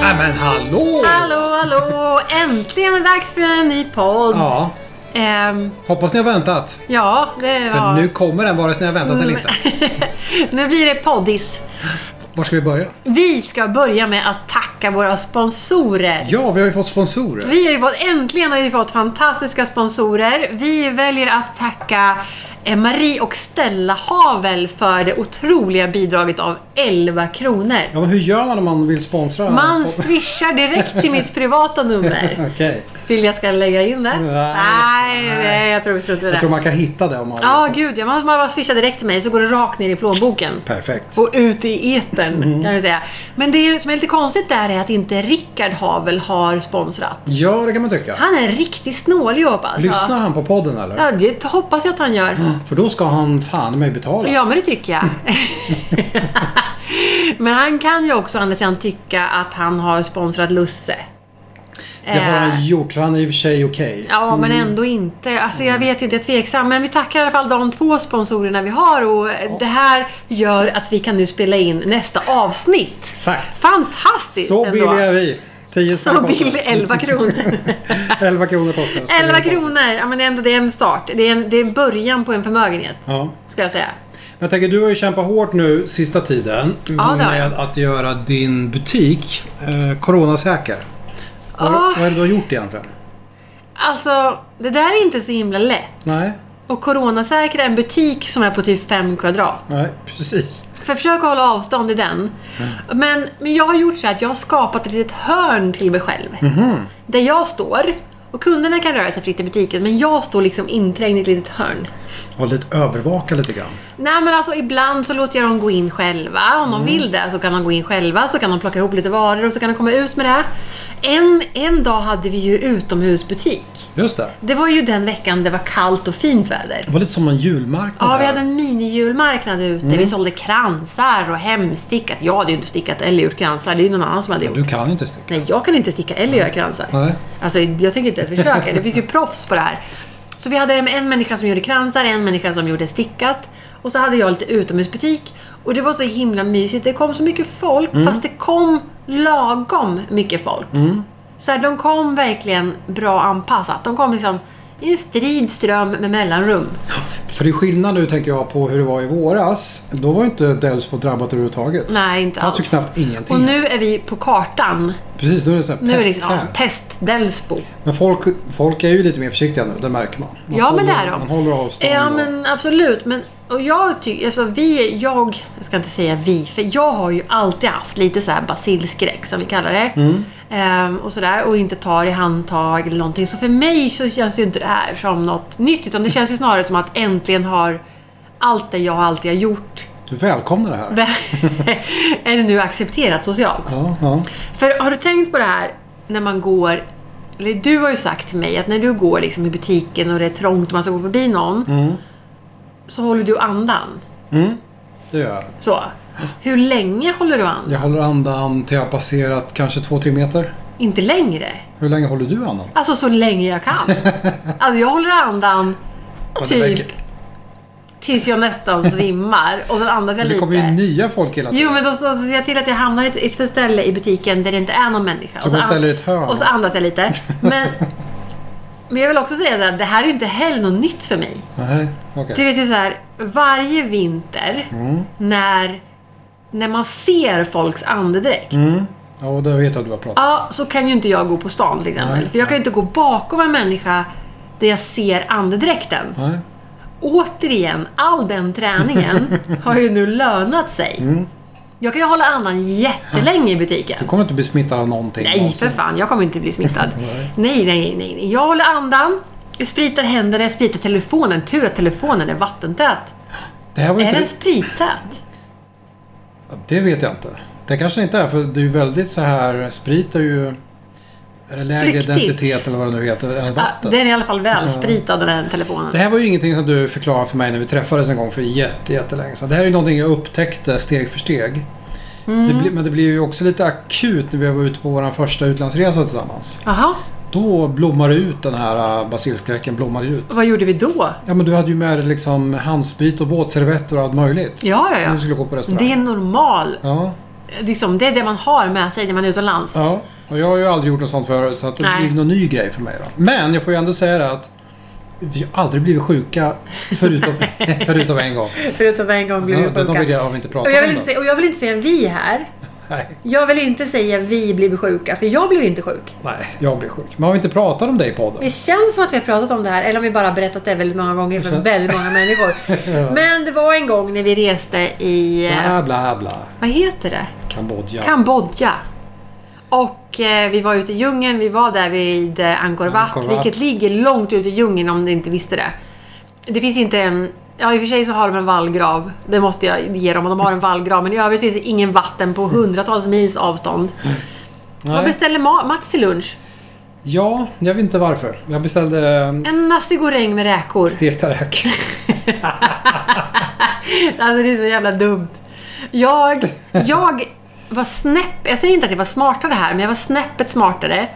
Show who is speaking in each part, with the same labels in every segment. Speaker 1: Nej men hallå!
Speaker 2: Hallå, hallå! Äntligen är det dags för en ny podd!
Speaker 1: Ja,
Speaker 2: Ehm,
Speaker 1: hoppas ni har väntat.
Speaker 2: ja Mm. det
Speaker 1: För
Speaker 2: var...
Speaker 1: nu kommer den vare sig ni har väntat eller inte.
Speaker 2: nu blir det poddis.
Speaker 1: Var ska vi börja?
Speaker 2: Vi ska börja med att tacka våra sponsorer.
Speaker 1: Ja, vi har ju fått sponsorer.
Speaker 2: Vi har ju fått, äntligen har vi fått fantastiska sponsorer. Vi väljer att tacka eh, Marie och Stella Havel för det otroliga bidraget av 11 kronor.
Speaker 1: Ja, men hur gör man om man vill sponsra?
Speaker 2: Man
Speaker 1: Okej.
Speaker 2: swishar direkt till mitt privata nummer. Vill jag ska lägga in det?
Speaker 1: Nej.
Speaker 2: nej, nej, jag tror vi struntar i det.
Speaker 1: Jag tror man kan hitta det om man
Speaker 2: Ja, gud ja. Man, man bara swishar direkt till mig så går det rakt ner i plånboken.
Speaker 1: Perfekt.
Speaker 2: Och ut i etern kan jag säga. Men det ju- som är lite konstigt där är att inte Rickard Havel har sponsrat.
Speaker 1: Ja, det kan man tycka.
Speaker 2: Han är en riktig snåljåp alltså.
Speaker 1: Lyssnar han på podden eller?
Speaker 2: Ja, det hoppas jag att han gör.
Speaker 1: För då ska han fan mig betala.
Speaker 2: Ja, men det tycker jag. men han kan ju också å andra sidan tycka att han har sponsrat Lusse.
Speaker 1: Det har
Speaker 2: Eh,
Speaker 1: han gjort, så han är i och för sig okej.
Speaker 2: Ja, men
Speaker 1: Mm.
Speaker 2: ändå inte. Alltså, jag vet inte, jag är tveksam. Men vi tackar i alla fall de två sponsorerna vi har och det här gör att vi kan nu spela in nästa avsnitt.
Speaker 1: Exakt.
Speaker 2: Fantastiskt
Speaker 1: Så
Speaker 2: ändå.
Speaker 1: billiga är vi. 10
Speaker 2: Så
Speaker 1: spänn
Speaker 2: billig,
Speaker 1: kostar
Speaker 2: 11 kronor.
Speaker 1: 11 kronor kostar det.
Speaker 2: 11 kronor, ja men det är ändå det är en start. Det är, en, det är början på en förmögenhet,
Speaker 1: Ja.
Speaker 2: ska jag säga.
Speaker 1: Jag tänker, du har ju kämpat hårt nu sista tiden
Speaker 2: har jag.
Speaker 1: med att göra din butik eh, coronasäker. Vad,
Speaker 2: Ah.
Speaker 1: vad är det du har gjort egentligen?
Speaker 2: Alltså, det där är inte så himla lätt.
Speaker 1: Nej,
Speaker 2: Och coronasäkra en butik som är på typ 5 kvadrat.
Speaker 1: nej, precis.
Speaker 2: För försök att hålla avstånd i den. Men, men jag har gjort så här att jag har skapat ett litet hörn till mig själv. Där jag står. Och kunderna kan röra sig fritt i butiken, men jag står liksom inträngd i ett litet hörn.
Speaker 1: Håll lite övervaka lite grann.
Speaker 2: Nej men alltså ibland så låter jag dem gå in själva. Om de vill det så kan de gå in själva, så kan de plocka ihop lite varor och så kan de komma ut med det. En, en dag hade vi ju utomhusbutik.
Speaker 1: Just det.
Speaker 2: Det var ju den veckan det var kallt och fint väder.
Speaker 1: Det var lite som en julmarknad
Speaker 2: Ja, vi
Speaker 1: här.
Speaker 2: hade en minijulmarknad ute. Vi sålde kransar och hemstickat. Jag hade ju inte stickat eller gjort kransar. Det är ju någon annan som hade gjort.
Speaker 1: Du kan ju inte sticka.
Speaker 2: Nej, jag kan inte sticka eller göra kransar.
Speaker 1: Nej.
Speaker 2: Alltså, jag tänker inte ens försöka. Det finns ju proffs på det här. Så vi hade en, en människa som gjorde kransar, en människa som gjorde stickat. Och så hade jag lite utomhusbutik. Och det var så himla mysigt. Det kom så mycket folk, fast det kom lagom mycket folk. Så här, de kom verkligen bra anpassat. De kom liksom i en strid ström med mellanrum.
Speaker 1: För det är skillnad nu tänker jag på hur det var i våras. Då var ju inte Delsbo drabbat överhuvudtaget.
Speaker 2: Nej, inte
Speaker 1: fanns ju
Speaker 2: alls.
Speaker 1: knappt ingenting.
Speaker 2: Och nu är vi på kartan.
Speaker 1: Precis, nu är det så här
Speaker 2: Nu är det
Speaker 1: pest
Speaker 2: liksom
Speaker 1: här.
Speaker 2: pest-Delsbo.
Speaker 1: Men folk, folk är ju lite mer försiktiga nu, det märker man. man
Speaker 2: Ja, men det
Speaker 1: håller-
Speaker 2: är de.
Speaker 1: Man håller avstånd.
Speaker 2: Ja,
Speaker 1: och-
Speaker 2: men absolut. Men, och jag tycker, alltså vi, jag, jag ska inte säga vi, för jag har ju alltid haft lite så här basilskräck som vi kallar det.
Speaker 1: Mm.
Speaker 2: Ehm, och sådär. Och inte tar i handtag eller någonting. Så för mig så känns ju inte det här som något nytt. Utan det känns ju snarare som att äntligen har allt det jag alltid har gjort
Speaker 1: Du välkomnar det här.
Speaker 2: är det nu accepterat socialt.
Speaker 1: Ja, ja.
Speaker 2: För har du tänkt på det här när man går... Eller du har ju sagt till mig att när du går liksom i butiken och det är trångt och man ska gå förbi någon.
Speaker 1: Mm.
Speaker 2: Så håller du andan.
Speaker 1: Det gör jag.
Speaker 2: Så. Hur länge håller du andan?
Speaker 1: Jag håller andan till jag har passerat kanske två, tre meter.
Speaker 2: Inte längre.
Speaker 1: Hur länge håller du andan?
Speaker 2: Alltså så länge jag kan. Alltså jag håller andan
Speaker 1: Ja, det
Speaker 2: typ
Speaker 1: verkar-
Speaker 2: tills jag nästan svimmar. Och sen andas jag
Speaker 1: Det kommer ju
Speaker 2: lite.
Speaker 1: nya folk hela tiden.
Speaker 2: Jo men då så, så ser jag till att jag hamnar i ett, i ett ställe i butiken där det inte är någon människa. Alltså,
Speaker 1: Så går
Speaker 2: an-
Speaker 1: ställer i ett hörn.
Speaker 2: Och så andas jag lite. Men, men jag vill också säga det att det här är inte heller något nytt för mig.
Speaker 1: Nej, okej.
Speaker 2: Du vet ju så här, varje vinter när, när man ser folks andedräkt.
Speaker 1: Ja, och det vet jag att du har pratat
Speaker 2: Ja, så kan ju inte jag gå på stan till exempel.
Speaker 1: Nej.
Speaker 2: För jag kan ju inte gå bakom en människa där jag ser andedräkten.
Speaker 1: om. Nej.
Speaker 2: Återigen, all den träningen har ju nu lönat sig. Jag kan ju hålla andan jättelänge i butiken.
Speaker 1: Du kommer inte bli smittad av någonting.
Speaker 2: Nej,
Speaker 1: någonsin.
Speaker 2: för fan. Jag kommer inte bli smittad.
Speaker 1: Nej.
Speaker 2: nej, nej, nej, nej. Jag håller andan. Jag spritar händerna, jag spritar telefonen. Tur att telefonen är vattentät.
Speaker 1: Det här var ju
Speaker 2: Är
Speaker 1: inte...
Speaker 2: den sprittät?
Speaker 1: Ja, Det vet jag inte. Det kanske inte är, för det är ju väldigt så här... Sprit är ju... Är det lägre
Speaker 2: Flyktigt.
Speaker 1: densitet eller vad det nu heter än
Speaker 2: Ah,
Speaker 1: vatten?
Speaker 2: den är i alla fall välspritad, den här telefonen.
Speaker 1: Det här var ju ingenting som du förklarade för mig när vi träffades en gång för jätte, jättelänge sedan. Det här är ju någonting jag upptäckte steg för steg.
Speaker 2: Mm.
Speaker 1: Det blir, men det blev ju också lite akut när vi var ute på vår första utlandsresa tillsammans.
Speaker 2: Jaha,
Speaker 1: Då blommade ut den här äh, basilskräcken blommade ut.
Speaker 2: och vad gjorde vi då?
Speaker 1: Ja men du hade ju med dig liksom handsprit och våtservetter och allt möjligt.
Speaker 2: Ja, ja,
Speaker 1: När
Speaker 2: ja.
Speaker 1: du skulle gå på restaurang.
Speaker 2: Det är normal.
Speaker 1: Ja,
Speaker 2: Liksom, det är det man har med sig när man är utomlands.
Speaker 1: ja. Och jag har ju aldrig gjort något sånt förut så att det
Speaker 2: Nej.
Speaker 1: blir någon ny grej för mig då. Men jag får ju ändå säga det att vi har aldrig blivit sjuka förutom, förutom en gång.
Speaker 2: Förutom en gång
Speaker 1: Ja,
Speaker 2: blev vi
Speaker 1: de vill
Speaker 2: sjuka.
Speaker 1: jag, har vi inte
Speaker 2: Och
Speaker 1: pratat
Speaker 2: jag,
Speaker 1: om
Speaker 2: vill inte
Speaker 1: då.
Speaker 2: säga, och jag vill inte säga vi här.
Speaker 1: Nej.
Speaker 2: Jag vill inte säga vi blev sjuka, för jag blev inte sjuk.
Speaker 1: Nej, jag blir sjuk. Men har vi inte pratat om dig i podden?
Speaker 2: Det känns som att vi har pratat om det här, eller om vi bara har berättat det väldigt många gånger för
Speaker 1: Så-
Speaker 2: väldigt många människor.
Speaker 1: Ja.
Speaker 2: Men det var en gång när vi reste i... eh,
Speaker 1: Bla, bla, bla.
Speaker 2: Vad heter det?
Speaker 1: Kambodja.
Speaker 2: Kambodja. Och eh, vi var ute i djungeln, vi var där vid eh, Angkor Wat,
Speaker 1: Angkor Wat.
Speaker 2: vilket ligger långt ute i djungeln om ni inte visste det. Det finns inte en... Ja, i och för sig så har de en vallgrav. Det måste jag ge dem, och de har en vallgrav. Men i övrigt finns det ingen vatten på hundratals mils avstånd. Vad
Speaker 1: Nej.
Speaker 2: beställer Ma- Mats till lunch?
Speaker 1: Ja, jag vet inte varför. Jag beställde eh, en...
Speaker 2: En nasi goreng med räkor.
Speaker 1: stekta räkor.
Speaker 2: Alltså det är så jävla dumt. Jag, jag var snäpp, jag säger inte att jag var smartare här, men jag var snäppet smartare.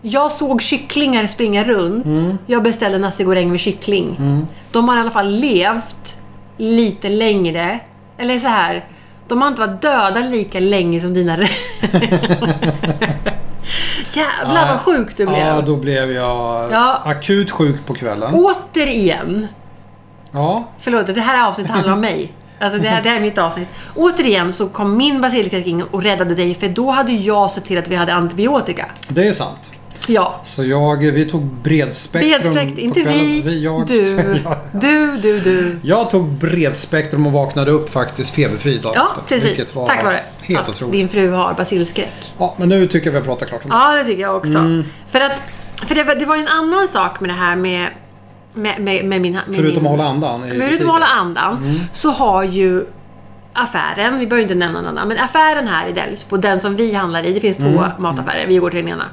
Speaker 2: Jag såg kycklingar springa runt.
Speaker 1: Mm.
Speaker 2: Jag beställde nasi goreng med kyckling. De har i alla fall levt lite längre. Eller så här, de har inte varit döda lika länge som dina rä- Jävlar vad sjuk du blev.
Speaker 1: Ja, då blev jag
Speaker 2: Ja. Oh.
Speaker 1: akut sjuk på kvällen.
Speaker 2: Återigen
Speaker 1: Ja,
Speaker 2: Förlåt, det här avsnittet handlar om mig. Alltså det här, det här är mitt avsnitt. Återigen så kom min basilikaking och räddade dig för då hade jag sett till att vi hade antibiotika.
Speaker 1: det är sant.
Speaker 2: Ja.
Speaker 1: Så jag, vi tog bredspektrum
Speaker 2: Bredsträckt,
Speaker 1: på
Speaker 2: inte vi,
Speaker 1: kvällen. jag,
Speaker 2: du,
Speaker 1: Jag,
Speaker 2: du, du, du.
Speaker 1: jag tog bredspektrum och vaknade upp faktiskt feberfri dagen
Speaker 2: Ja,
Speaker 1: efter,
Speaker 2: precis.
Speaker 1: vilket var
Speaker 2: Tack vare
Speaker 1: Helt
Speaker 2: att
Speaker 1: otroligt.
Speaker 2: din fru har basilskräck.
Speaker 1: Ja, men nu tycker jag vi har pratat klart om det.
Speaker 2: Ja, det tycker jag också.
Speaker 1: Mm.
Speaker 2: För, att, för det, var- det var ju en annan sak med det här med, med, med, med min... Med
Speaker 1: Förutom
Speaker 2: min,
Speaker 1: att hålla andan i
Speaker 2: Förutom
Speaker 1: butiken.
Speaker 2: att hålla andan så har ju affären, vi behöver inte nämna någon annan, men affären här i Delsbo, den som vi handlar i, det finns två
Speaker 1: Mm.
Speaker 2: mataffärer, vi går till den ena.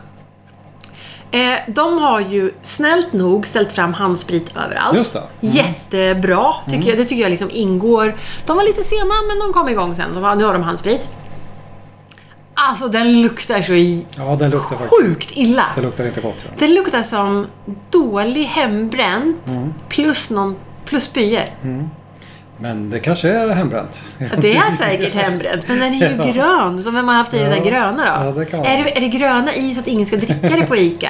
Speaker 2: Eh, de har ju snällt nog ställt fram handsprit överallt.
Speaker 1: Just det. Mm.
Speaker 2: Jättebra, tycker jag, det tycker jag liksom ingår. De var lite sena men de kom igång sen, så va, nu har de handsprit. Alltså den luktar så i-
Speaker 1: Ja, den luktar faktiskt.
Speaker 2: sjukt illa.
Speaker 1: Den luktar inte gott. Ja.
Speaker 2: Den luktar som dålig hembränt
Speaker 1: Mm.
Speaker 2: plus, någon, plus spyor.
Speaker 1: Men det kanske är hembränt.
Speaker 2: Det är säkert hembränt, men den är ju grön. Så vem har haft i den där
Speaker 1: Ja.
Speaker 2: gröna då?
Speaker 1: Ja, det kan
Speaker 2: är,
Speaker 1: vara.
Speaker 2: det, är det gröna i så att ingen ska dricka det på ICA?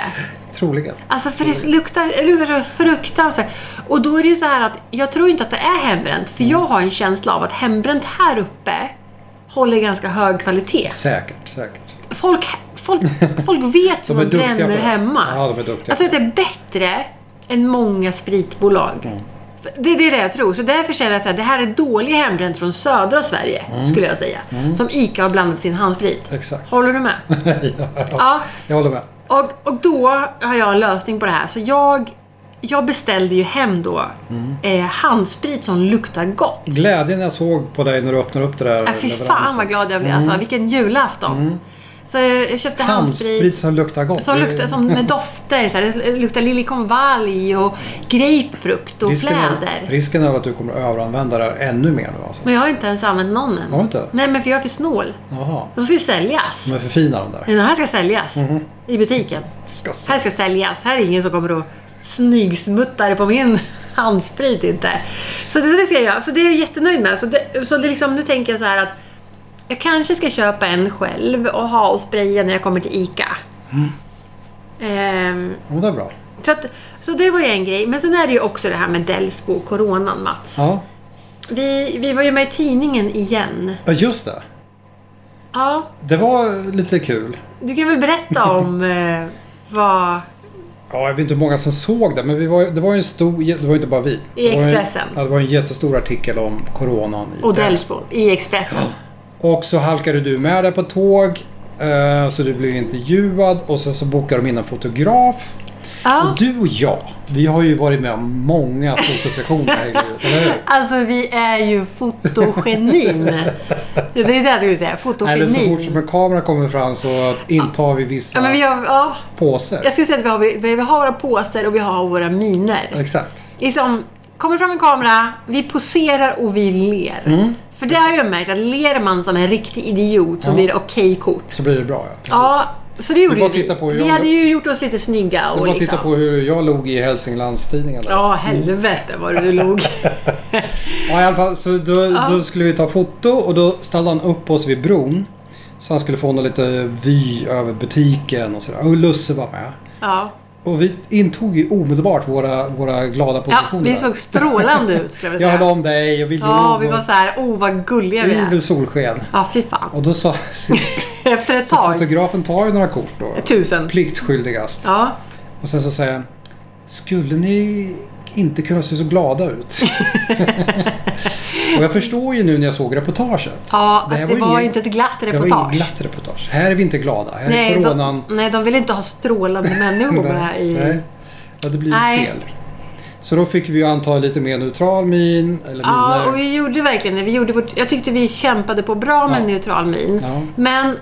Speaker 1: Troligen.
Speaker 2: Alltså för det luktar, det luktar så fruktansvärt. Och då är det ju så här att jag tror inte att det är hembränt.
Speaker 1: Mm.
Speaker 2: För jag har en känsla av att hembränt här uppe håller ganska hög kvalitet.
Speaker 1: Säkert, säkert.
Speaker 2: Folk, folk, folk vet
Speaker 1: De
Speaker 2: hur
Speaker 1: är
Speaker 2: man
Speaker 1: duktiga på
Speaker 2: bränner
Speaker 1: det.
Speaker 2: hemma.
Speaker 1: Ja, de är duktiga.
Speaker 2: Jag tror att det är bättre än många spritbolag.
Speaker 1: Mm.
Speaker 2: För Det, det är det jag tror. Så därför känner jag att det här är dålig hembränt från södra Sverige,
Speaker 1: Mm.
Speaker 2: skulle jag säga. Som ICA har blandat sin handsprit.
Speaker 1: Exakt.
Speaker 2: Håller du med?
Speaker 1: ja,
Speaker 2: ja.
Speaker 1: Jag håller med.
Speaker 2: Och, och då har jag en lösning på det här. Så jag, jag beställde ju hem då
Speaker 1: Mm.
Speaker 2: eh, handsprit som luktar gott.
Speaker 1: Glädjen jag såg på dig när du öppnade upp det där
Speaker 2: Äh, fy fan vad glad jag blev
Speaker 1: Mm.
Speaker 2: alltså. Vilken julafton. Så jag, jag köpte handsprit.
Speaker 1: Handsprit som luktar gott.
Speaker 2: Som
Speaker 1: Det-
Speaker 2: luktar som med dofter. Så här, det luktar liljekonvalj och grapefrukt och
Speaker 1: risken är,
Speaker 2: fläder.
Speaker 1: risken är att du kommer att överanvända det här ännu mer nu alltså.
Speaker 2: Men jag har inte ens använt någon än.
Speaker 1: Har du inte?
Speaker 2: Nej, men för jag är för snål.
Speaker 1: Jaha.
Speaker 2: De ska ju säljas.
Speaker 1: De är för fina de där.
Speaker 2: Den här ska säljas.
Speaker 1: Mhm.
Speaker 2: I butiken.
Speaker 1: Ska se.
Speaker 2: Här ska säljas. Här är ingen som kommer att smygsmutta på min handsprit inte. Så det, så det ska jag göra. Så det är jag jättenöjd med. Så, det, så det är liksom, nu tänker jag så här att jag kanske ska köpa en själv och ha och spraya när jag kommer till ICA.
Speaker 1: Mm.
Speaker 2: Ehm,
Speaker 1: Ja, men det är bra.
Speaker 2: Så, att, så det var ju en grej. Men sen är det ju också det här med Delsbo och coronan, Mats.
Speaker 1: Ja,
Speaker 2: Vi, vi var ju med i tidningen igen.
Speaker 1: Ja, just det.
Speaker 2: Ja,
Speaker 1: Det var lite kul.
Speaker 2: du kan väl berätta om eh, vad...
Speaker 1: Ja, jag vet inte hur många som såg det, men vi var, ju- det var ju en stor... Det var ju inte bara vi.
Speaker 2: I
Speaker 1: Det var ju-
Speaker 2: Expressen.
Speaker 1: Ja, det var en jättestor artikel om coronan i
Speaker 2: Och
Speaker 1: Delsbo.
Speaker 2: Delsbo i Expressen.
Speaker 1: Och så halkade du med där på tåg. eh, Så du blev intervjuad och sen så bokade de in en fotograf.
Speaker 2: Ja.
Speaker 1: Och du och jag, vi har ju varit med om många fotosessioner här i livet, eller hur?
Speaker 2: Alltså vi är ju fotogenin. Det är det jag skulle säga.
Speaker 1: Eller så fort som
Speaker 2: Fotogenin.
Speaker 1: en kamera kommer fram så intar vi vissa
Speaker 2: Ja, men vi har, ja,
Speaker 1: påser.
Speaker 2: jag skulle säga att vi har, vi har våra påser och vi har våra miner.
Speaker 1: Exakt.
Speaker 2: Liksom, kommer fram en kamera, vi poserar och vi ler. För det har jag ju märkt att ler man som en riktig idiot
Speaker 1: Mm.
Speaker 2: så
Speaker 1: Ja.
Speaker 2: blir det okej kort.
Speaker 1: Så blir det bra, ja. Precis.
Speaker 2: Ja, så det
Speaker 1: Det
Speaker 2: gjorde
Speaker 1: är bara
Speaker 2: ju
Speaker 1: att titta
Speaker 2: vi.
Speaker 1: på hur
Speaker 2: vi
Speaker 1: jag-
Speaker 2: hade ju gjort oss lite snygga.
Speaker 1: Det är
Speaker 2: Och
Speaker 1: bara att
Speaker 2: liksom.
Speaker 1: titta på hur jag log i Hälsinglandstidningen. där.
Speaker 2: Ja, helvete vad du
Speaker 1: Mm.
Speaker 2: log.
Speaker 1: Ja, i alla fall, så då, då skulle vi ta foto och då ställde han upp oss vid bron. Så han skulle få någon lite vy över butiken och sådär. Och Lusse var med.
Speaker 2: Ja.
Speaker 1: Och vi intog ju omedelbart våra, våra glada
Speaker 2: ja,
Speaker 1: positioner.
Speaker 2: vi såg strålande ut skulle jag
Speaker 1: jag
Speaker 2: vilja
Speaker 1: hörde
Speaker 2: säga.
Speaker 1: om dig och vi
Speaker 2: Ja,
Speaker 1: låg
Speaker 2: vi var
Speaker 1: och
Speaker 2: så här, oh vad gulliga vi är.
Speaker 1: idel solsken.
Speaker 2: Ja, fy fan.
Speaker 1: Och då sa
Speaker 2: Efter ett tag,
Speaker 1: fotografen tar ju några kort då.
Speaker 2: tusen.
Speaker 1: Pliktskyldigast.
Speaker 2: Ja,
Speaker 1: Och sen så säger han, skulle ni inte kunna se så glada ut? och jag förstår ju nu när jag såg reportaget.
Speaker 2: ja
Speaker 1: Det här
Speaker 2: att det
Speaker 1: var
Speaker 2: var
Speaker 1: ingen-
Speaker 2: inte ett glatt
Speaker 1: Det var inget
Speaker 2: reportage.
Speaker 1: glatt reportage. Här är vi inte glada. Här är
Speaker 2: Nej,
Speaker 1: coronan.
Speaker 2: de, nej, de vill inte ha strålande människor med
Speaker 1: nej.
Speaker 2: i...
Speaker 1: Ja, det blir
Speaker 2: Nej.
Speaker 1: fel. Så då fick vi ju anta lite mer neutral min. Eller
Speaker 2: Ja,
Speaker 1: miner.
Speaker 2: och vi gjorde verkligen det. Vi gjorde vårt, jag tyckte vi kämpade på bra med
Speaker 1: Ja.
Speaker 2: neutral min.
Speaker 1: Ja.
Speaker 2: Men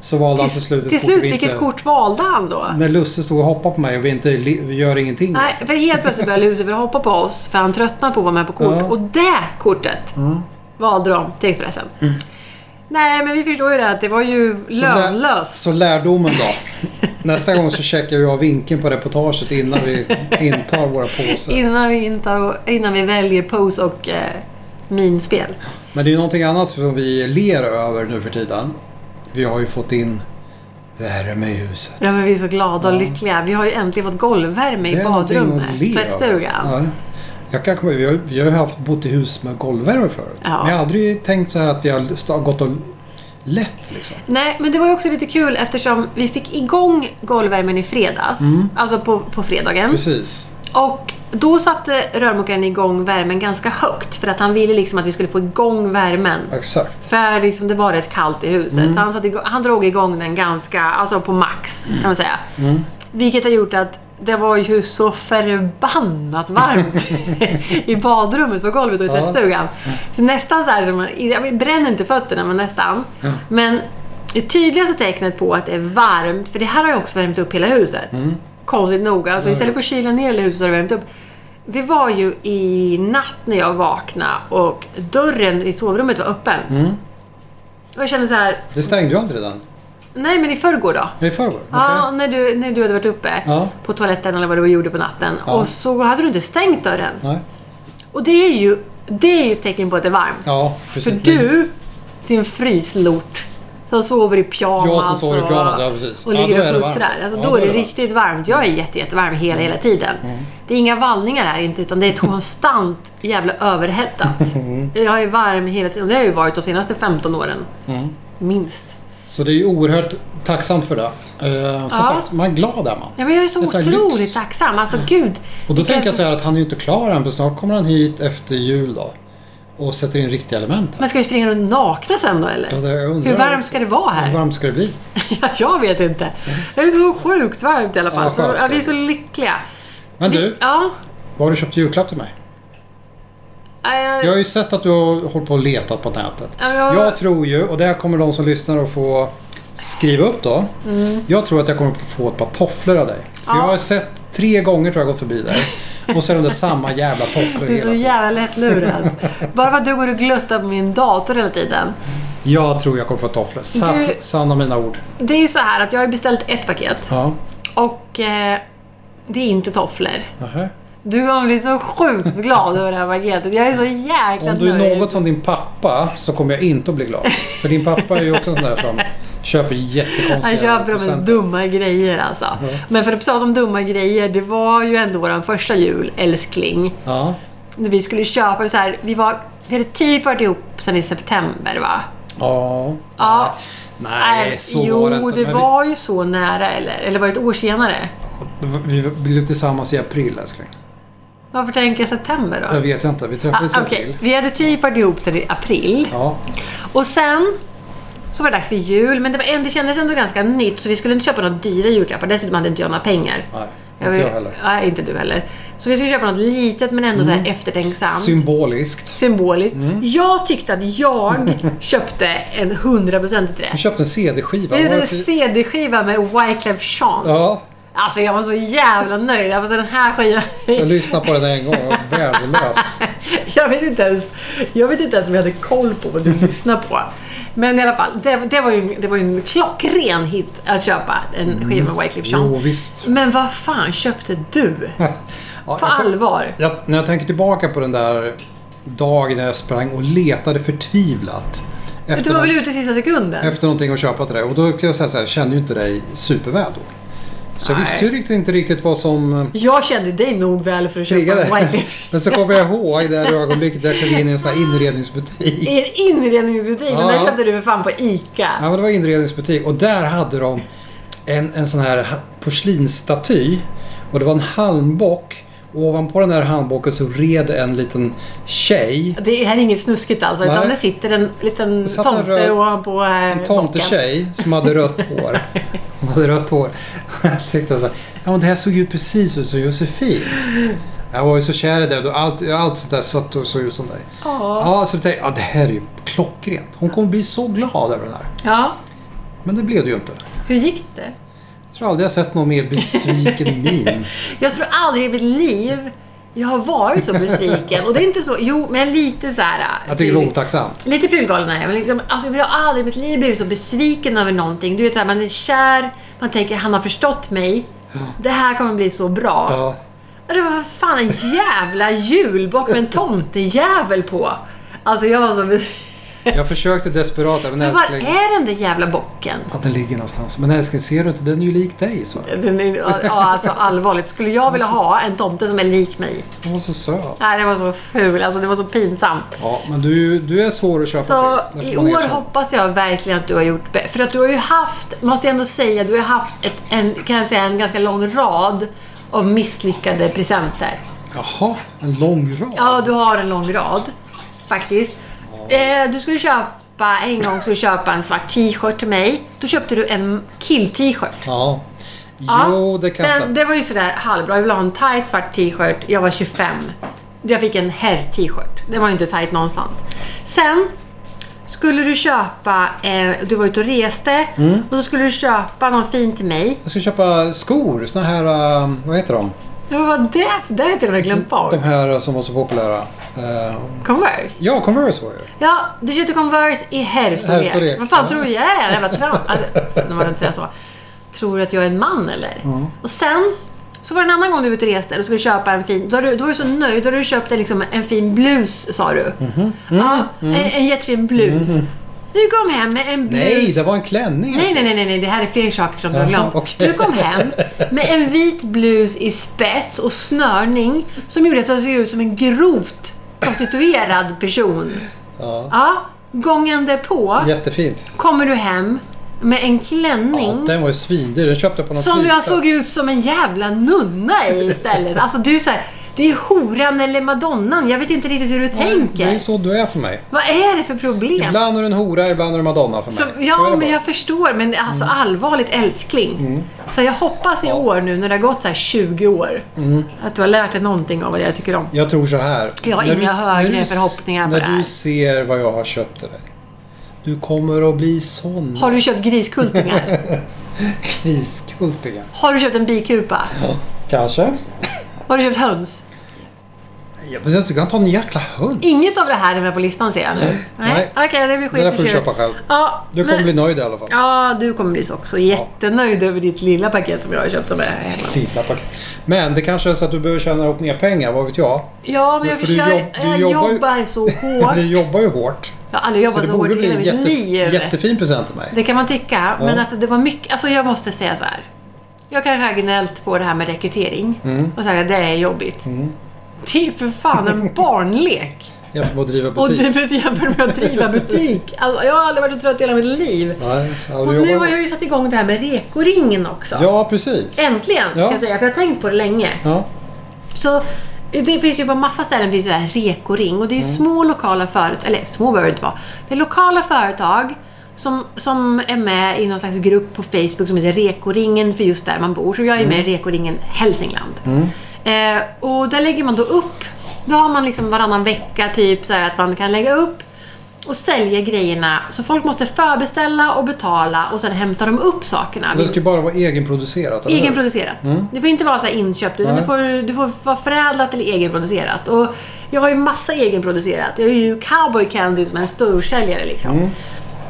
Speaker 1: Så valde han till
Speaker 2: till
Speaker 1: slut ett
Speaker 2: till
Speaker 1: kort
Speaker 2: slut,
Speaker 1: vi
Speaker 2: vilket
Speaker 1: inte- Mm.
Speaker 2: kort valde han då?
Speaker 1: När Lusse stod och hoppade på mig och vi inte li- vi gör ingenting.
Speaker 2: Nej, för helt plötsligt började Lucifer hoppa på oss för han tröttnade på att vara med på kort.
Speaker 1: Ja. Mm.
Speaker 2: Och det kortet valde de till Expressen. Nej, men vi förstår ju det att det var ju
Speaker 1: Så lä-
Speaker 2: lönlöst.
Speaker 1: Så lärdomen då. Nästa gång så checkar vi av vinkeln på reportaget innan vi intar våra påsar.
Speaker 2: Innan vi, inte, innan vi väljer pose och eh, minspel.
Speaker 1: Men det är ju någonting annat som vi ler över nu för tiden. Vi har ju fått in värme i huset.
Speaker 2: Ja, men vi är så glada och lyckliga. Vi har ju äntligen fått golvvärme i
Speaker 1: någonting att le
Speaker 2: badrummet.
Speaker 1: över,
Speaker 2: Tvättstugan.
Speaker 1: alltså. Ja. Jag kan komma, vi, har, vi har ju haft, bott i hus med golvvärme förut.
Speaker 2: Ja.
Speaker 1: Men jag har aldrig tänkt så här att jag har gått och lätt liksom.
Speaker 2: Nej, men det var ju också lite kul eftersom vi fick igång golvvärmen i fredags. Alltså på, på fredagen.
Speaker 1: Precis.
Speaker 2: Och då satte rörmokaren igång värmen ganska högt för att han ville liksom att vi skulle få igång värmen.
Speaker 1: Exakt.
Speaker 2: För liksom det var rätt kallt i huset. Så han, satte igång, han drog igång den ganska, alltså på max kan man säga. Vilket har gjort att det var ju så förbannat varmt i badrummet på golvet och i
Speaker 1: Ja.
Speaker 2: tvättstugan. Så nästan så här, som, man- jag menar, bränner inte fötterna men nästan. Men det tydligaste tecknet på att det är varmt, för det här har ju också värmt upp hela huset. Konstigt nog.
Speaker 1: Mm.
Speaker 2: Alltså istället för att kyla ner hela huset så har det värmt upp. Det var ju i natt när jag vaknade och dörren i sovrummet var öppen.
Speaker 1: Mm.
Speaker 2: Och jag kände så här,
Speaker 1: Det stängde ju aldrig den.
Speaker 2: nej men i förrgår då.
Speaker 1: Nej, i förrgår. Okej.
Speaker 2: Ja, när du, när du hade varit uppe
Speaker 1: Ja.
Speaker 2: på toaletten eller vad du gjorde på natten.
Speaker 1: Ja.
Speaker 2: Och så hade du inte stängt dörren.
Speaker 1: Nej.
Speaker 2: Och det är ju, det är ju ett tecken på att det är varmt.
Speaker 1: Ja,
Speaker 2: För
Speaker 1: precis.
Speaker 2: du, din fryslort, som sover i pyjamas
Speaker 1: Jag som sover i
Speaker 2: och-
Speaker 1: pyjamas, ja, precis.
Speaker 2: och
Speaker 1: Ja,
Speaker 2: ligger
Speaker 1: då är det
Speaker 2: och
Speaker 1: varmt, Mm.
Speaker 2: huttrar.
Speaker 1: alltså.
Speaker 2: Alltså,
Speaker 1: Ja,
Speaker 2: då är det riktigt varmt. Jag är jätte, jättevarm hela, hela tiden. Det är inga vallningar här inte, utan det är konstant jävla överhettat.
Speaker 1: Mm.
Speaker 2: Jag är varm hela tiden. Det har jag ju varit de senaste 15 åren.
Speaker 1: Mm.
Speaker 2: Minst.
Speaker 1: Så det är ju oerhört tacksamt för det. Eh, som
Speaker 2: Ja.
Speaker 1: sagt, man är glad är man.
Speaker 2: Ja, men jag är så
Speaker 1: Det är så här
Speaker 2: otroligt
Speaker 1: lyx. Mm.
Speaker 2: tacksam. Alltså gud.
Speaker 1: Och då
Speaker 2: vilken-
Speaker 1: tänker jag så här att han är ju inte klar än för snart kommer han hit efter jul då. Och sätter in riktiga element. här.
Speaker 2: Men ska vi springa runt nakna sen då eller?
Speaker 1: Ja, det- jag undrar-
Speaker 2: Hur varmt ska det vara här?
Speaker 1: Hur varmt ska det bli?
Speaker 2: Ja, jag vet inte. Det är så sjukt varmt i alla fall.
Speaker 1: Ja,
Speaker 2: så,
Speaker 1: skönt
Speaker 2: ja,
Speaker 1: ska
Speaker 2: vi är
Speaker 1: det
Speaker 2: så lyckliga.
Speaker 1: Men
Speaker 2: Vi-
Speaker 1: du,
Speaker 2: Ja.
Speaker 1: vad har du köpt i julklapp till mig?
Speaker 2: eh,
Speaker 1: Jag har ju sett att du har hållit på och letat på nätet.
Speaker 2: Ja, jag-
Speaker 1: Jag tror ju, och det här kommer de som lyssnar att få skriva upp då. Jag tror att jag kommer få ett par tofflor av dig. För
Speaker 2: Mm. Ja.
Speaker 1: jag har sett tre gånger tror jag gått förbi dig. Och så är de där samma jävla tofflor
Speaker 2: Du är
Speaker 1: hela
Speaker 2: så
Speaker 1: tiden.
Speaker 2: jävla lättlurad. Bara för att du går och gluttar på min dator hela tiden.
Speaker 1: Jag tror jag kommer få tofflor. Sa-
Speaker 2: Du-
Speaker 1: Sanna mina ord.
Speaker 2: Det är ju så här att jag har beställt ett paket
Speaker 1: Ja.
Speaker 2: och eh, det är inte tofflor.
Speaker 1: Nähä.
Speaker 2: Du kommer bli så sjukt glad över det här paketet. Jag är så jäkla
Speaker 1: Om du är
Speaker 2: nöjd.
Speaker 1: något som din pappa så kommer jag inte att bli glad. För din pappa är ju också en sån där som köper jättekonstiga
Speaker 2: Han köper de mest
Speaker 1: presenter.
Speaker 2: dumma grejer alltså. Men för att prata om dumma grejer, det var ju ändå vår första jul, älskling.
Speaker 1: Ja.
Speaker 2: När vi skulle köpa så här, vi var, vi hade typ varit ihop sen i september va?
Speaker 1: Ja.
Speaker 2: Ja.
Speaker 1: Nej,
Speaker 2: Äh,
Speaker 1: så
Speaker 2: jo,
Speaker 1: var det inte. Men vi-
Speaker 2: var ju så nära eller? Eller var det ett år senare?
Speaker 1: Vi blev tillsammans i april älskling.
Speaker 2: Varför tänker jag september då?
Speaker 1: Jag vet jag inte. Äh, Vi
Speaker 2: Ah,
Speaker 1: träffades i
Speaker 2: okej.
Speaker 1: april.
Speaker 2: Vi hade typ varit ihop sedan i april.
Speaker 1: Ja.
Speaker 2: Och sen så var det dags för jul, men det, var, en- det kändes ändå ganska nytt så vi skulle inte köpa några dyra julklappar. Dessutom hade inte jag några pengar.
Speaker 1: Nej, inte jag heller. Mm.
Speaker 2: Nej, inte du heller. Så vi skulle köpa något litet men ändå så här eftertänksamt.
Speaker 1: Symboliskt.
Speaker 2: symboliskt.
Speaker 1: Mm.
Speaker 2: Jag tyckte att jag köpte en 100%
Speaker 1: Jag
Speaker 2: rätt.
Speaker 1: köpte en CD-skiva.
Speaker 2: Jag gjorde en
Speaker 1: Varför-
Speaker 2: CD-skiva med Wyclef Jean.
Speaker 1: Ja,
Speaker 2: Alltså jag var så jävla nöjd. Jag bara, den här skivan...
Speaker 1: jag lyssnade på den en gång och var värdelös.
Speaker 2: Jag vet inte ens, jag vet inte ens om jag hade koll på vad du lyssnar på. Men i alla fall, det, det, var, ju, en- det var ju en klockren hit att köpa en skiva med Wyclef Jean.
Speaker 1: Mm. Jo, visst.
Speaker 2: Men vad fan köpte du?
Speaker 1: Ja,
Speaker 2: På
Speaker 1: jag kom-
Speaker 2: allvar?
Speaker 1: Jag, när jag tänker tillbaka på den där dagen när jag sprang och letade förtvivlat
Speaker 2: Du
Speaker 1: efter,
Speaker 2: var
Speaker 1: någon,
Speaker 2: väl ute i sista sekunden?
Speaker 1: efter någonting att köpa till dig. Och då kan jag säga så här, jag kände ju inte dig superväl då. Så jag
Speaker 2: Nej.
Speaker 1: visste ju riktigt, inte riktigt vad som eh,
Speaker 2: Jag kände dig nog väl för att köpa en
Speaker 1: triggade.
Speaker 2: Wyclef.
Speaker 1: Men så kommer jag ihåg det där ögonblicket där jag klev in i en sån här inredningsbutik.
Speaker 2: I en inredningsbutik. Den
Speaker 1: Ja.
Speaker 2: där köpte du för fan på ICA.
Speaker 1: Ja, men det var inredningsbutik och där hade de en, en sån här ha- porslinsstaty och det var en halmbock. Och ovanpå den här halmbocken så red en liten tjej
Speaker 2: Det här är inget snuskigt alltså,
Speaker 1: Nej.
Speaker 2: utan det sitter en liten
Speaker 1: satt en
Speaker 2: tomte
Speaker 1: röd-
Speaker 2: ovanpå eh,
Speaker 1: En
Speaker 2: bocken.
Speaker 1: tomtetjej som hade rött hår. Hon hade rött hår. Jag tyckte så här, ja men det här såg ju precis ut som Josefin. Jag var ju så kär i dig och allt, allt sånt där sött och såg ut som dig.
Speaker 2: Ja.
Speaker 1: Ja, så tänkte jag, ja det här är ju klockrent. Hon kommer bli så glad över det här.
Speaker 2: ja.
Speaker 1: Men det blev det ju inte.
Speaker 2: Hur gick det?
Speaker 1: Jag tror aldrig jag sett någon mer besviken min.
Speaker 2: Jag tror aldrig i mitt liv jag har varit så besviken. Och det är inte så, jo men jag är lite så här. eh,
Speaker 1: Jag tycker det
Speaker 2: prylgalen.
Speaker 1: var otacksamt.
Speaker 2: Lite prylgalen är jag, men liksom, alltså, jag har aldrig i mitt liv blivit så besviken över någonting. Du vet såhär, man är kär, man tänker han har förstått mig. Det här kommer bli så bra.
Speaker 1: Ja.
Speaker 2: Och Det var fan en jävla julbock med en tomtejävel på. Alltså jag var så besviken.
Speaker 1: Jag försökte desperat, men
Speaker 2: Men var
Speaker 1: älskling.
Speaker 2: är den där jävla bocken?
Speaker 1: Att den ligger någonstans. Men älskling, ser du inte? Den är ju lik dig, så.
Speaker 2: Den är, ja, alltså allvarligt. Skulle jag vilja ha en tomte som är lik mig?
Speaker 1: Den var så söt.
Speaker 2: Nej, det var så ful. Alltså det var så pinsamt.
Speaker 1: Ja, men du, du är svår att köpa
Speaker 2: Så
Speaker 1: till. Det
Speaker 2: i
Speaker 1: får man
Speaker 2: år
Speaker 1: erkänna.
Speaker 2: hoppas jag verkligen att du har gjort bättre. För att du har ju haft, måste jag ändå säga, du har haft ett, en, kan jag säga, en ganska lång rad av misslyckade presenter.
Speaker 1: Jaha, en lång rad.
Speaker 2: Ja, du har en lång rad. Faktiskt. Eh, du skulle köpa, en gång skulle du köpa en svart t-shirt till mig. Då köpte du en kill-t-shirt.
Speaker 1: Ja. Jo, det kan jag
Speaker 2: den, det var ju sådär halvbra. Jag ville ha en tight svart t-shirt. Jag var 25. Jag fick en herr t-shirt. Det var ju inte tight någonstans. Sen skulle du köpa, eh, du var ute och reste
Speaker 1: Mm.
Speaker 2: och så skulle du köpa någon fin till mig.
Speaker 1: Jag ska köpa skor. Såna här, eh, vad heter de?
Speaker 2: Men vad var det? för- Det har jag till och med glömt bort.
Speaker 1: De här eh, som var så populära. Eh,
Speaker 2: Converse.
Speaker 1: Ja, Converse var det
Speaker 2: Ja, du köpte Converse i herrstorlek.
Speaker 1: Herrstorlek.
Speaker 2: Vad fan tror du jag är? Jävla tramp. Alltså, nu var det inte säga så. Tror du att jag är en man eller?
Speaker 1: Mm.
Speaker 2: Och sen så var det en annan gång du var ute och reste och skulle köpa en fin... Då var du, då var du så nöjd. Då hade du köpt en, liksom, en fin blus sa du.
Speaker 1: Mhm. Mm.
Speaker 2: Ja, En, en jättefin blus. Du kom hem med en blus.
Speaker 1: Nej, det var en klänning.
Speaker 2: Nej,
Speaker 1: alltså.
Speaker 2: nej, nej, nej, nej, det här är fler saker som du har
Speaker 1: Jaha,
Speaker 2: glömt.
Speaker 1: okej.
Speaker 2: Du kom hem med en vit blus i spets och snörning som gjorde att du såg ut som en grovt prostituerad person.
Speaker 1: Ja.
Speaker 2: Ja, gången därpå
Speaker 1: Jättefint.
Speaker 2: kommer du hem med en
Speaker 1: Ja,
Speaker 2: klänning
Speaker 1: den var ju svindyr. Den köpte jag på någon
Speaker 2: som jag
Speaker 1: flygplats.
Speaker 2: såg ut som en jävla nunna i istället. Alltså du är så här, det är horan eller madonnan. Jag vet inte riktigt hur du
Speaker 1: Det är
Speaker 2: tänker.
Speaker 1: så du är för mig.
Speaker 2: Vad är det för problem?
Speaker 1: Ibland är du en hora, ibland är du madonna för mig.
Speaker 2: Så,
Speaker 1: Så är
Speaker 2: ja,
Speaker 1: det
Speaker 2: men
Speaker 1: bara. Mm.
Speaker 2: jag förstår. Men alltså allvarligt älskling. Så jag hoppas i år nu när det har gått så här 20 år
Speaker 1: Mm.
Speaker 2: att du har lärt dig någonting av vad jag tycker om.
Speaker 1: Jag tror så här.
Speaker 2: Jag har
Speaker 1: När
Speaker 2: inga
Speaker 1: s-
Speaker 2: högre
Speaker 1: när du s-
Speaker 2: förhoppningar på det
Speaker 1: När
Speaker 2: här.
Speaker 1: du ser vad jag har köpt till dig. Du kommer att bli sån
Speaker 2: Har du köpt griskultingar?
Speaker 1: kriskultinge.
Speaker 2: har du köpt en bikupa?
Speaker 1: Kanske.
Speaker 2: Har du köpt höns?
Speaker 1: Jag vet inte, du kan ta en jäkla hund.
Speaker 2: Inget av det här är med på listan ser jag nu.
Speaker 1: Nej.
Speaker 2: Okej, det blir skit
Speaker 1: Det där
Speaker 2: i
Speaker 1: får du
Speaker 2: tjuren.
Speaker 1: köpa själv.
Speaker 2: Ja,
Speaker 1: Du kommer
Speaker 2: men-
Speaker 1: bli nöjd i alla fall.
Speaker 2: Ja, du kommer bli så också jättenöjd över ditt lilla paket som jag har köpt som är här hemma.
Speaker 1: Fina paket. Men det kanske är så att du behöver tjäna ihop mer pengar, vad vet jag?
Speaker 2: Ja, men
Speaker 1: Men
Speaker 2: jag,
Speaker 1: för du
Speaker 2: försöker,
Speaker 1: jobb- du
Speaker 2: jag
Speaker 1: jobbar
Speaker 2: jobbar,
Speaker 1: ju-
Speaker 2: så hårt.
Speaker 1: Du jobbar ju hårt.
Speaker 2: Jag har aldrig
Speaker 1: Så
Speaker 2: jobbat
Speaker 1: det
Speaker 2: så hårt
Speaker 1: borde
Speaker 2: i
Speaker 1: bli
Speaker 2: hela
Speaker 1: en
Speaker 2: mitt
Speaker 1: jätte,
Speaker 2: liv.
Speaker 1: jättefin present till mig.
Speaker 2: Det kan man tycka, men att det var mycket. Alltså jag måste säga så här. Jag kanske har gnällt på det här med rekrytering
Speaker 1: Mm.
Speaker 2: och sagt att det är jobbigt. Det är för fan en barnlek.
Speaker 1: Jämfört med att driva
Speaker 2: Och
Speaker 1: butik.
Speaker 2: det jämfört med att driva butik. Alltså, jag har aldrig varit så trött i hela mitt liv.
Speaker 1: Nej, ja,
Speaker 2: Och
Speaker 1: du
Speaker 2: nu
Speaker 1: jobbar
Speaker 2: har jag ju satt igång det här med rekoringen också.
Speaker 1: Ja, precis.
Speaker 2: Äntligen, ska
Speaker 1: Ja.
Speaker 2: jag säga, för jag har tänkt på det länge.
Speaker 1: Ja.
Speaker 2: Så det finns ju på massa ställen finns det här rekoring och det är ju små lokala företag, eller små behöver det inte vara. Det är lokala företag som, som är med i någon slags grupp på Facebook som heter Rekoringen för just där man bor. Så jag är med i Rekoringen Hälsingland. Eh, och där lägger man då upp, då har man liksom varannan vecka typ så här att man kan lägga upp och säljer grejerna. Så folk måste förbeställa och betala och sen hämtar de upp sakerna.
Speaker 1: Det ska ju bara vara egenproducerat, eller hur? Mm.
Speaker 2: Egenproducerat. Det får inte vara så här inköpt, utan
Speaker 1: Nej.
Speaker 2: det får, det får vara förädlat eller egenproducerat. Och jag har ju massa egenproducerat. Jag är ju cowboy candy som är en storsäljare liksom.
Speaker 1: Mm.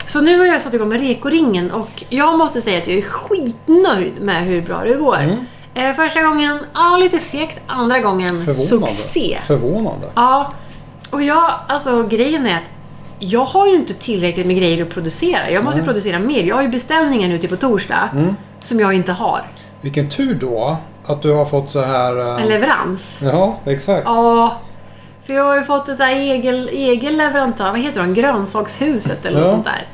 Speaker 2: Så nu har jag satt igång med rekoringen och jag måste säga att jag är skitnöjd med hur bra det går.
Speaker 1: Mm.
Speaker 2: Eh, första gången, ja lite segt. Andra gången,
Speaker 1: Förvånande.
Speaker 2: succé.
Speaker 1: Förvånande.
Speaker 2: Ja, och jag, alltså grejen är att jag har ju inte tillräckligt med grejer att producera. Jag måste ju producera mer. Jag har ju beställningar nu till på torsdag
Speaker 1: Mm.
Speaker 2: som jag inte har.
Speaker 1: Vilken tur då att du har fått så här... eh,
Speaker 2: En leverans.
Speaker 1: Ja, exakt.
Speaker 2: Ja, för jag har ju fått en så här egen, egen leverantör. Vad heter de? Grönsakshuset eller något
Speaker 1: Ja.
Speaker 2: sånt där.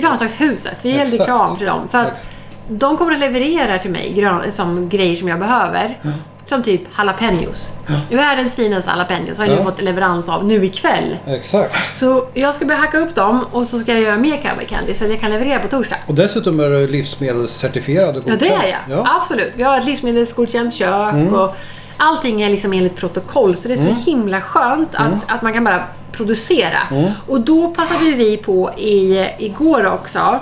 Speaker 2: Grönsakshuset. Vi gällde
Speaker 1: Exakt.
Speaker 2: kram till dem. För att
Speaker 1: Exakt.
Speaker 2: de kommer att leverera till mig grön, som grejer som jag behöver. Som typ jalapenos. Världens finaste jalapenos har jag nu
Speaker 1: Ja.
Speaker 2: fått leverans av nu ikväll.
Speaker 1: Exakt.
Speaker 2: Så jag ska börja hacka upp dem och så ska jag göra mer cowboy candy så att jag kan leverera på torsdag.
Speaker 1: Och dessutom är du livsmedelscertifierad och
Speaker 2: Ja, det är jag.
Speaker 1: godkänd. Liksom. Ja. Mm.
Speaker 2: Absolut. Vi har ett livsmedelsgodkänt kök och allting är liksom enligt protokoll så det är så himla skönt att,
Speaker 1: Mm.
Speaker 2: att man kan bara producera. Och då passade ju vi på i, igår också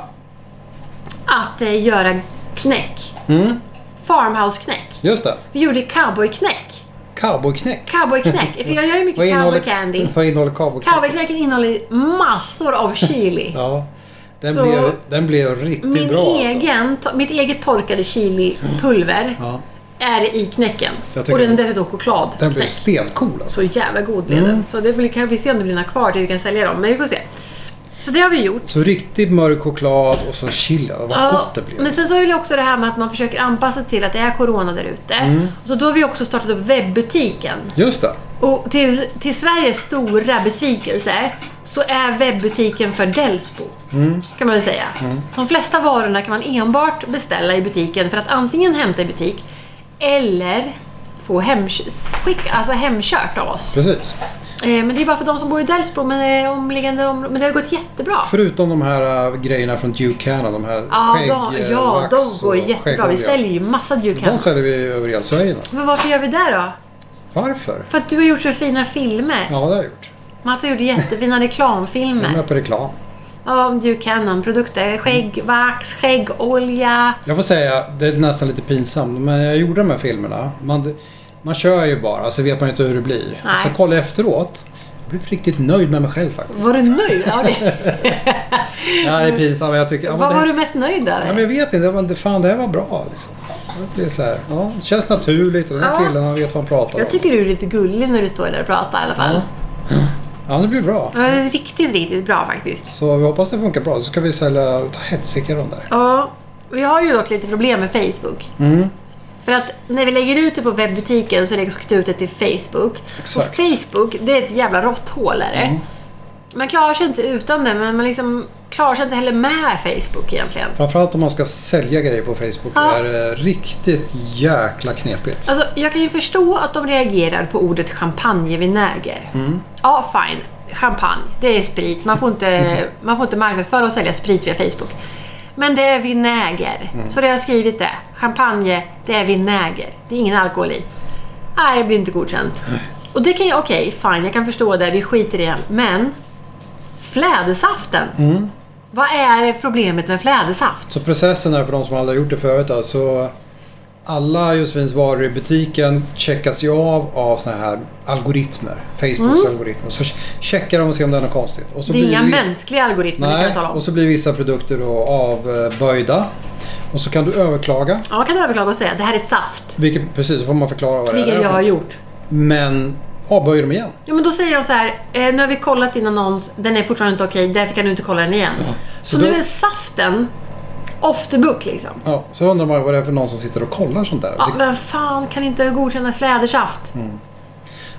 Speaker 2: att eh, göra knäck.
Speaker 1: Mm,
Speaker 2: Farmhouse-knäck.
Speaker 1: just det.
Speaker 2: Vi gjorde cowboy-knäck.
Speaker 1: Cowboyknäck.
Speaker 2: Cowboy-knäck. För jag gör ju
Speaker 1: Vad
Speaker 2: mycket
Speaker 1: innehåller,
Speaker 2: cowboy candy.
Speaker 1: Vad innehåller cowboyknäck?
Speaker 2: Cowboy-knäcken innehåller massor av chili.
Speaker 1: Ja. Den,
Speaker 2: Så-
Speaker 1: blev, den blev riktigt
Speaker 2: Min
Speaker 1: bra alltså.
Speaker 2: egen, to- mitt eget torkade chilipulver
Speaker 1: Ja.
Speaker 2: är i knäcken.
Speaker 1: Jag tycker
Speaker 2: Och den är
Speaker 1: det.
Speaker 2: dessutom choklad.
Speaker 1: Den Mm. blev
Speaker 2: knäck.
Speaker 1: stencool alltså.
Speaker 2: Så jävla god blev den. Så det blir- kan vi se om det blir några kvar till vi kan sälja dem. Men vi får se. Så det har vi gjort.
Speaker 1: Så riktigt mörk choklad och så chili. Vad gott det blev.
Speaker 2: men sen så är det också det här med att man försöker anpassa sig till att det är corona där ute.
Speaker 1: Mm.
Speaker 2: Så då har vi också startat upp webbutiken.
Speaker 1: Just det.
Speaker 2: Och till, till Sveriges stora besvikelse så är webbutiken för Delsbo.
Speaker 1: Mm.
Speaker 2: Kan man väl säga. De flesta varorna kan man enbart beställa i butiken för att antingen hämta i butik eller få hemskick, alltså hemkört av oss.
Speaker 1: Precis.
Speaker 2: Eh, men det är bara för de som bor i Delsbo men eh, omliggande områden. Men det har gått jättebra.
Speaker 1: Förutom de här äh, grejerna från Duke Canada. De här
Speaker 2: Ja,
Speaker 1: skägg,
Speaker 2: de,
Speaker 1: eh,
Speaker 2: ja,
Speaker 1: vax
Speaker 2: de går
Speaker 1: och
Speaker 2: jättebra. Vi
Speaker 1: skäggolja.
Speaker 2: säljer ju massa Duke
Speaker 1: De
Speaker 2: Hands.
Speaker 1: säljer vi över hela Sverige nu.
Speaker 2: Men varför gör vi det då?
Speaker 1: Varför?
Speaker 2: För att du har gjort så fina filmer.
Speaker 1: Ja, det har jag gjort.
Speaker 2: Mats har gjort jättefina reklamfilmer.
Speaker 1: Jag är med på reklam.
Speaker 2: Ja, om du kan om produkter. Skäggvax, skäggolja.
Speaker 1: Jag får säga, det är nästan lite pinsamt, men jag gjorde de här filmerna. Man, man kör ju bara, så vet man ju inte hur det blir.
Speaker 2: Nej.
Speaker 1: Så kolla efteråt. Jag blev riktigt nöjd med mig själv faktiskt.
Speaker 2: Var du nöjd? Ja, det.
Speaker 1: Ja, det är pinsamt, men jag tycker... Ja, men
Speaker 2: Vad
Speaker 1: det,
Speaker 2: var du mest nöjd
Speaker 1: ja, men
Speaker 2: över?
Speaker 1: jag vet inte, men det- fan det här var bra. Liksom. Det blir så här, ja, det känns naturligt och den här
Speaker 2: Ja.
Speaker 1: killen han vet vad han pratar om.
Speaker 2: Jag tycker du är lite gullig när du står där och pratar i alla fall.
Speaker 1: Ja, det blir bra.
Speaker 2: Det var riktigt, riktigt bra faktiskt.
Speaker 1: Så vi hoppas det funkar bra, så ska vi sälja... Ta helsike de där.
Speaker 2: Ja, vi har ju dock lite problem med Facebook.
Speaker 1: Mm.
Speaker 2: För att när vi lägger ut det på webbutiken så läggs det ut det till Facebook.
Speaker 1: Exakt.
Speaker 2: Och Facebook, det är ett jävla råtthål är det. Man klarar sig inte utan det, men man liksom klarar sig inte heller med Facebook egentligen.
Speaker 1: Framförallt om man ska sälja grejer på Facebook.
Speaker 2: Ja.
Speaker 1: Det är eh, riktigt jäkla knepigt.
Speaker 2: Alltså, jag kan ju förstå att de reagerar på ordet champagnevinäger.
Speaker 1: Mm.
Speaker 2: Ja, fine. Champagne, det är sprit. Man får, inte,
Speaker 1: Mm-hmm.
Speaker 2: man får inte marknadsföra och sälja sprit via Facebook. Men det är vinäger.
Speaker 1: Mm.
Speaker 2: Så det har jag skrivit det. Champagne, det är vinäger. Det är ingen alkohol i. Nej, det blir inte godkänt. Och det kan jag, okej, fine, jag kan förstå det. Vi skiter i det. Men flädersaften.
Speaker 1: Mm.
Speaker 2: Vad är problemet med flädersaft?
Speaker 1: Så processen är för de som aldrig har gjort det förut då, så alla Josefins varor i butiken checkas ju av av såna här algoritmer. Facebooks algoritmer. Så checkar de och ser om det är något konstigt. Och så
Speaker 2: Mm. Det är
Speaker 1: blir
Speaker 2: inga
Speaker 1: vi-
Speaker 2: mänskliga algoritmer, det kan
Speaker 1: Nej,
Speaker 2: jag tala om.
Speaker 1: och så blir vissa produkter då avböjda. Och så kan du överklaga.
Speaker 2: Ja, man kan överklaga och säga det här är saft.
Speaker 1: Vilket, precis, så får man förklara vad det
Speaker 2: Vilket
Speaker 1: är.
Speaker 2: jag har gjort.
Speaker 1: Men avböjer dem igen.
Speaker 2: Ja, men då säger de så här, eh, nu har vi kollat din annons, den är fortfarande inte okej, därför kan du inte kolla den igen. Så,
Speaker 1: Så då-
Speaker 2: nu är saften off the book liksom.
Speaker 1: Ja, så undrar man vad det är för någon som sitter och kollar sånt där.
Speaker 2: Ja,
Speaker 1: Det, Mm.
Speaker 2: men fan kan inte godkänna flädersaft?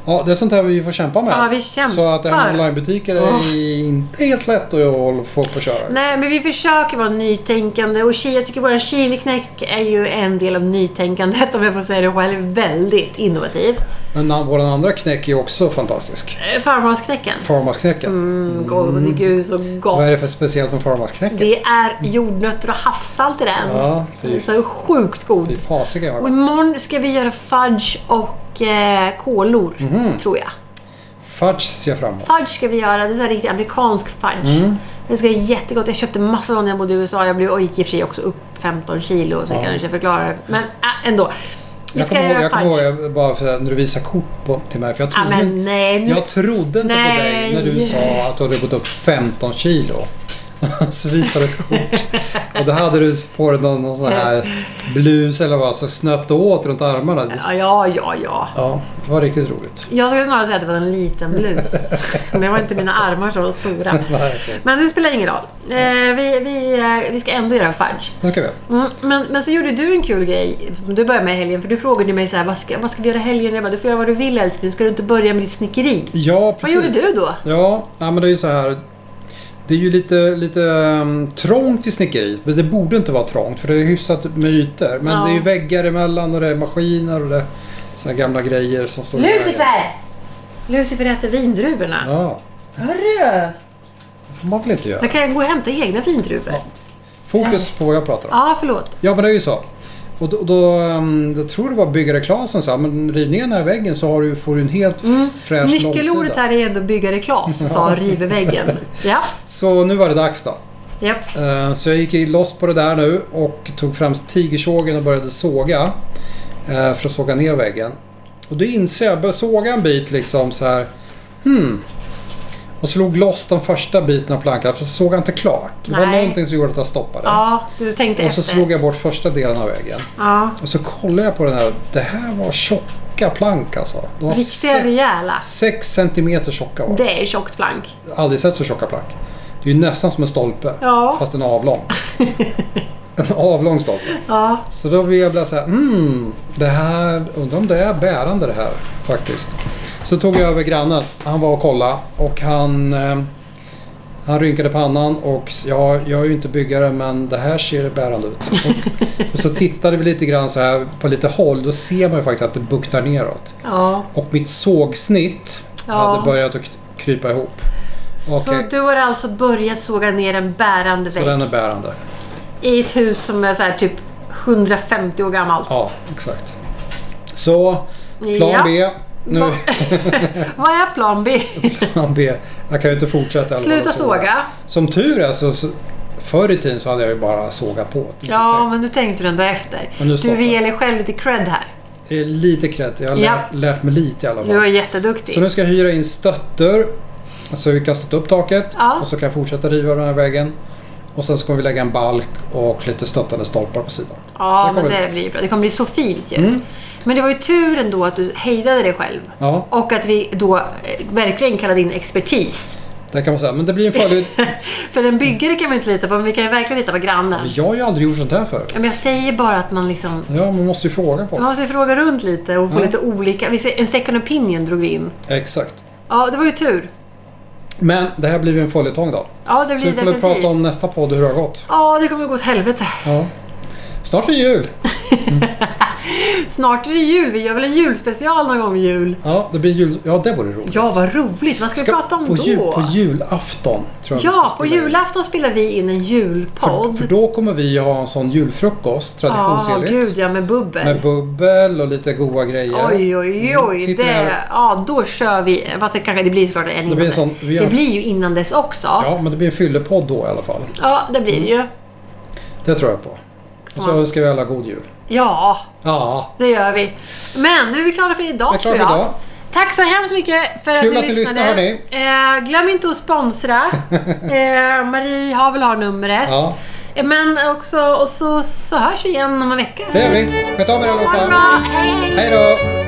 Speaker 1: ja, det är sånt här vi får kämpa med.
Speaker 2: Ja, vi kämpar.
Speaker 1: Så att det här med onlinebutiker är
Speaker 2: Åh.
Speaker 1: inte helt lätt att få på köra.
Speaker 2: Nej, men vi försöker vara nytänkande och chi- jag tycker vår chiliknäck är ju en del av nytänkandet om jag får säga det själv. Väldigt innovativt.
Speaker 1: Men an- vår andra knäck är också fantastisk.
Speaker 2: Eh, Farmarsknäcken.
Speaker 1: Farmarsknäcken.
Speaker 2: Mm, god, gud så
Speaker 1: Vad är
Speaker 2: gott.
Speaker 1: det för speciellt med farmarsknäcken?
Speaker 2: Det är jordnötter och havssalt i den.
Speaker 1: Ja,
Speaker 2: Den är
Speaker 1: fy,
Speaker 2: så sjukt god.
Speaker 1: fy fasiken vad
Speaker 2: Mm. Och
Speaker 1: gott. Mhm.
Speaker 2: imorgon ska vi göra fudge och eh, kolor, tror jag.
Speaker 1: Fudge ser jag fram emot.
Speaker 2: Fudge ska vi göra. Det är så här riktigt amerikansk fudge.
Speaker 1: Mm.
Speaker 2: Det ska vara jättegott. Jag köpte massa sådana när jag bodde i USA. Jag blev, och gick i och för sig också upp 15 kilo, så
Speaker 1: Ja.
Speaker 2: kanske förklarar Men äh, ändå. Vi
Speaker 1: Jag
Speaker 2: ska
Speaker 1: kommer ihåg,
Speaker 2: göra
Speaker 1: jag
Speaker 2: fudge.
Speaker 1: kommer ihåg jag bara för att när du visade kort på, till mig. För jag
Speaker 2: ja,
Speaker 1: trodde,
Speaker 2: men nej. nu-
Speaker 1: jag trodde inte på dig när du
Speaker 2: Nej.
Speaker 1: sa att du hade gått upp 15 kilo. Så visade du ett kort. Och då hade du på dig någon, någon sån här blus eller vad så snöpte åt runt armarna. Det-
Speaker 2: Ja, ja, ja, ja.
Speaker 1: Ja, det var riktigt roligt.
Speaker 2: Jag skulle snarare säga att det var en liten blus. Det var inte mina armar som var stora.
Speaker 1: Verkligen.
Speaker 2: Men det spelar ingen roll. Eh, vi, vi, eh, vi ska ändå göra fudge.
Speaker 1: Det ska vi.
Speaker 2: Mm, men, men så gjorde du en kul grej. Du började med i helgen, för du frågade mig så här, vad, ska, vad ska vi göra i helgen? Jag bara, du får göra vad du vill älskling. Ska du inte börja med ditt snickeri?
Speaker 1: Ja,
Speaker 2: Vad
Speaker 1: precis.
Speaker 2: gjorde du då?
Speaker 1: Ja, nej, men det är ju så här. Det är ju lite, lite ehm, trångt i snickeriet. Men det borde inte vara trångt för det är hyfsat med ytor. Men
Speaker 2: Ja.
Speaker 1: det är ju väggar emellan och det är maskiner och det är såna gamla grejer som står i vägen.
Speaker 2: Lucifer! Lucifer äter vindruvorna.
Speaker 1: Ja,
Speaker 2: Hörru!
Speaker 1: det får man väl inte göra.
Speaker 2: Då kan jag gå och hämta egna
Speaker 1: Ja.
Speaker 2: vindruvor. Ja,
Speaker 1: Fokus på vad jag pratar om.
Speaker 2: förlåt.
Speaker 1: Ja, men det är ju så. Och då, då ehm, jag tror det var byggare Claes som sa, men riv ner den här väggen så har du, får du en helt fräsch
Speaker 2: Mm. Nyckelordet
Speaker 1: långsida.
Speaker 2: här är ändå byggare Klas, sa river väggen. Ja,
Speaker 1: Så nu var det dags då.
Speaker 2: japp.
Speaker 1: Eh, Så jag gick loss på det där nu och tog fram tigersågen och började såga. eh, För att såga ner väggen. Och då inser jag, jag började såga en bit liksom så här. Hmm. Och slog loss den första biten av plankan för jag såg inte klart. Det var
Speaker 2: Nej.
Speaker 1: någonting som gjorde att jag stoppade.
Speaker 2: Ja, du tänkte
Speaker 1: och så
Speaker 2: efter.
Speaker 1: slog jag bort första delen av väggen.
Speaker 2: Ja,
Speaker 1: Och så kollade jag på den här. Det här var tjocka plank alltså. De var
Speaker 2: riktiga
Speaker 1: se-
Speaker 2: rejäla.
Speaker 1: sex centimeter tjocka var de.
Speaker 2: Det är tjockt plank.
Speaker 1: Jag har Aldrig sett så tjocka plank. Det är ju nästan som en stolpe.
Speaker 2: Ja.
Speaker 1: Fast en avlång. en avlång stolpe.
Speaker 2: Ja,
Speaker 1: Så då blev jag bara såhär, mm, det här, undrar om det är bärande det här faktiskt. Så tog jag över grannen, han var och kollade och han, eh, han rynkade pannan och s- ja, jag är ju inte byggare men det här ser bärande ut. Och, och så tittade vi lite grann så här på lite håll, då ser man ju faktiskt att det buktar neråt.
Speaker 2: ja.
Speaker 1: Och mitt sågsnitt
Speaker 2: Ja.
Speaker 1: hade börjat att k- krypa ihop. Okej.
Speaker 2: Så du har alltså börjat såga ner en bärande
Speaker 1: Så
Speaker 2: vägg
Speaker 1: den är bärande.
Speaker 2: i ett hus som är så här typ 150 år gammalt.
Speaker 1: Ja, exakt. Så, plan
Speaker 2: Ja.
Speaker 1: B. Nu,
Speaker 2: Va- Vad är plan B?
Speaker 1: plan B. Jag kan ju inte fortsätta. i alla fall
Speaker 2: Sluta
Speaker 1: att
Speaker 2: såga.
Speaker 1: Som tur är så, så förr i tiden så hade jag ju bara sågat på.
Speaker 2: Ja, men nu tänkte du ändå efter.
Speaker 1: Men nu
Speaker 2: Du
Speaker 1: stoppar
Speaker 2: vill ge
Speaker 1: jag.
Speaker 2: dig själv lite cred här.
Speaker 1: Det är Lite kredd. Jag har
Speaker 2: Ja.
Speaker 1: lärt, lärt mig lite i alla
Speaker 2: Du är
Speaker 1: fall. Så
Speaker 2: jätteduktig.
Speaker 1: nu ska jag hyra in stötter. Så vi kan stötta upp taket.
Speaker 2: Ja.
Speaker 1: Och så kan jag fortsätta riva den här vägen. Och sen så kommer vi lägga en balk och lite stöttande stolpar på sidan.
Speaker 2: Ja,
Speaker 1: det
Speaker 2: men
Speaker 1: kommer
Speaker 2: det
Speaker 1: bli-
Speaker 2: blir bra. Det kommer bli så fint ju. Men det var ju tur ändå att du hejdade dig själv.
Speaker 1: Ja,
Speaker 2: Och att vi då eh, verkligen kallade in expertis.
Speaker 1: det kan man säga. Men det blir en fördel.
Speaker 2: För en byggare kan man ju inte lita på, men vi kan ju verkligen lita på grannen.
Speaker 1: Jag har ju aldrig gjort sånt här förut.
Speaker 2: Men jag säger bara att man liksom...
Speaker 1: Ja, man måste ju fråga folk.
Speaker 2: Man måste ju fråga runt lite och få
Speaker 1: Ja.
Speaker 2: lite olika. Vi ser, en second opinion drog vi in.
Speaker 1: Exakt.
Speaker 2: Ja, det var ju tur.
Speaker 1: Men det här blir ju en följetong då.
Speaker 2: Ja, det
Speaker 1: Så
Speaker 2: blir
Speaker 1: vi får väl
Speaker 2: definitivt.
Speaker 1: prata om nästa podd hur det har gått.
Speaker 2: Ja, det kommer gå åt helvete.
Speaker 1: Ja. Snart är det jul.
Speaker 2: Snart är det jul. Vi gör väl en julspecial någon gång vid jul.
Speaker 1: Ja, det blir jul. Ja, det vore roligt.
Speaker 2: Ja, vad roligt. Vad ska, vi prata om
Speaker 1: på
Speaker 2: då?
Speaker 1: Jul, på julafton tror jag vi
Speaker 2: ja,
Speaker 1: ska
Speaker 2: på
Speaker 1: spela in.
Speaker 2: julafton spelar vi in en
Speaker 1: För,
Speaker 2: julpodd.
Speaker 1: för då kommer vi ha en sån julfrukost
Speaker 2: Ja,
Speaker 1: traditionsenligt.
Speaker 2: gud ja, med bubbel.
Speaker 1: med bubbel och lite goda grejer.
Speaker 2: Oj, oj,
Speaker 1: Mm,
Speaker 2: oj.
Speaker 1: sitter
Speaker 2: Det,
Speaker 1: här.
Speaker 2: ja, då kör vi. Fast det, kanske, det blir såklart en innan.
Speaker 1: blir en
Speaker 2: dess.
Speaker 1: sån- vi gör-
Speaker 2: det blir ju innan dess också. Ja,
Speaker 1: Ja, Mm. men det blir en fyllepodd då i alla fall.
Speaker 2: det blir det ju.
Speaker 1: Det tror jag på. Och
Speaker 2: Ja.
Speaker 1: så ska vi alla god jul.
Speaker 2: Ja,
Speaker 1: Ja,
Speaker 2: det gör vi. Men nu är vi klara för idag
Speaker 1: det är klart
Speaker 2: tror jag.
Speaker 1: idag.
Speaker 2: Tack så hemskt mycket för
Speaker 1: Kul
Speaker 2: att
Speaker 1: att
Speaker 2: ni
Speaker 1: du
Speaker 2: lyssnade.
Speaker 1: lyssnar,
Speaker 2: eh, glöm inte att sponsra. eh, Marie har väl har numret.
Speaker 1: Ja,
Speaker 2: Eh, Men också, och så, så hörs vi igen om en vecka.
Speaker 1: det är vi. Sköt om er
Speaker 2: Ha det
Speaker 1: allihopa.
Speaker 2: bra, hej!
Speaker 1: Hej då!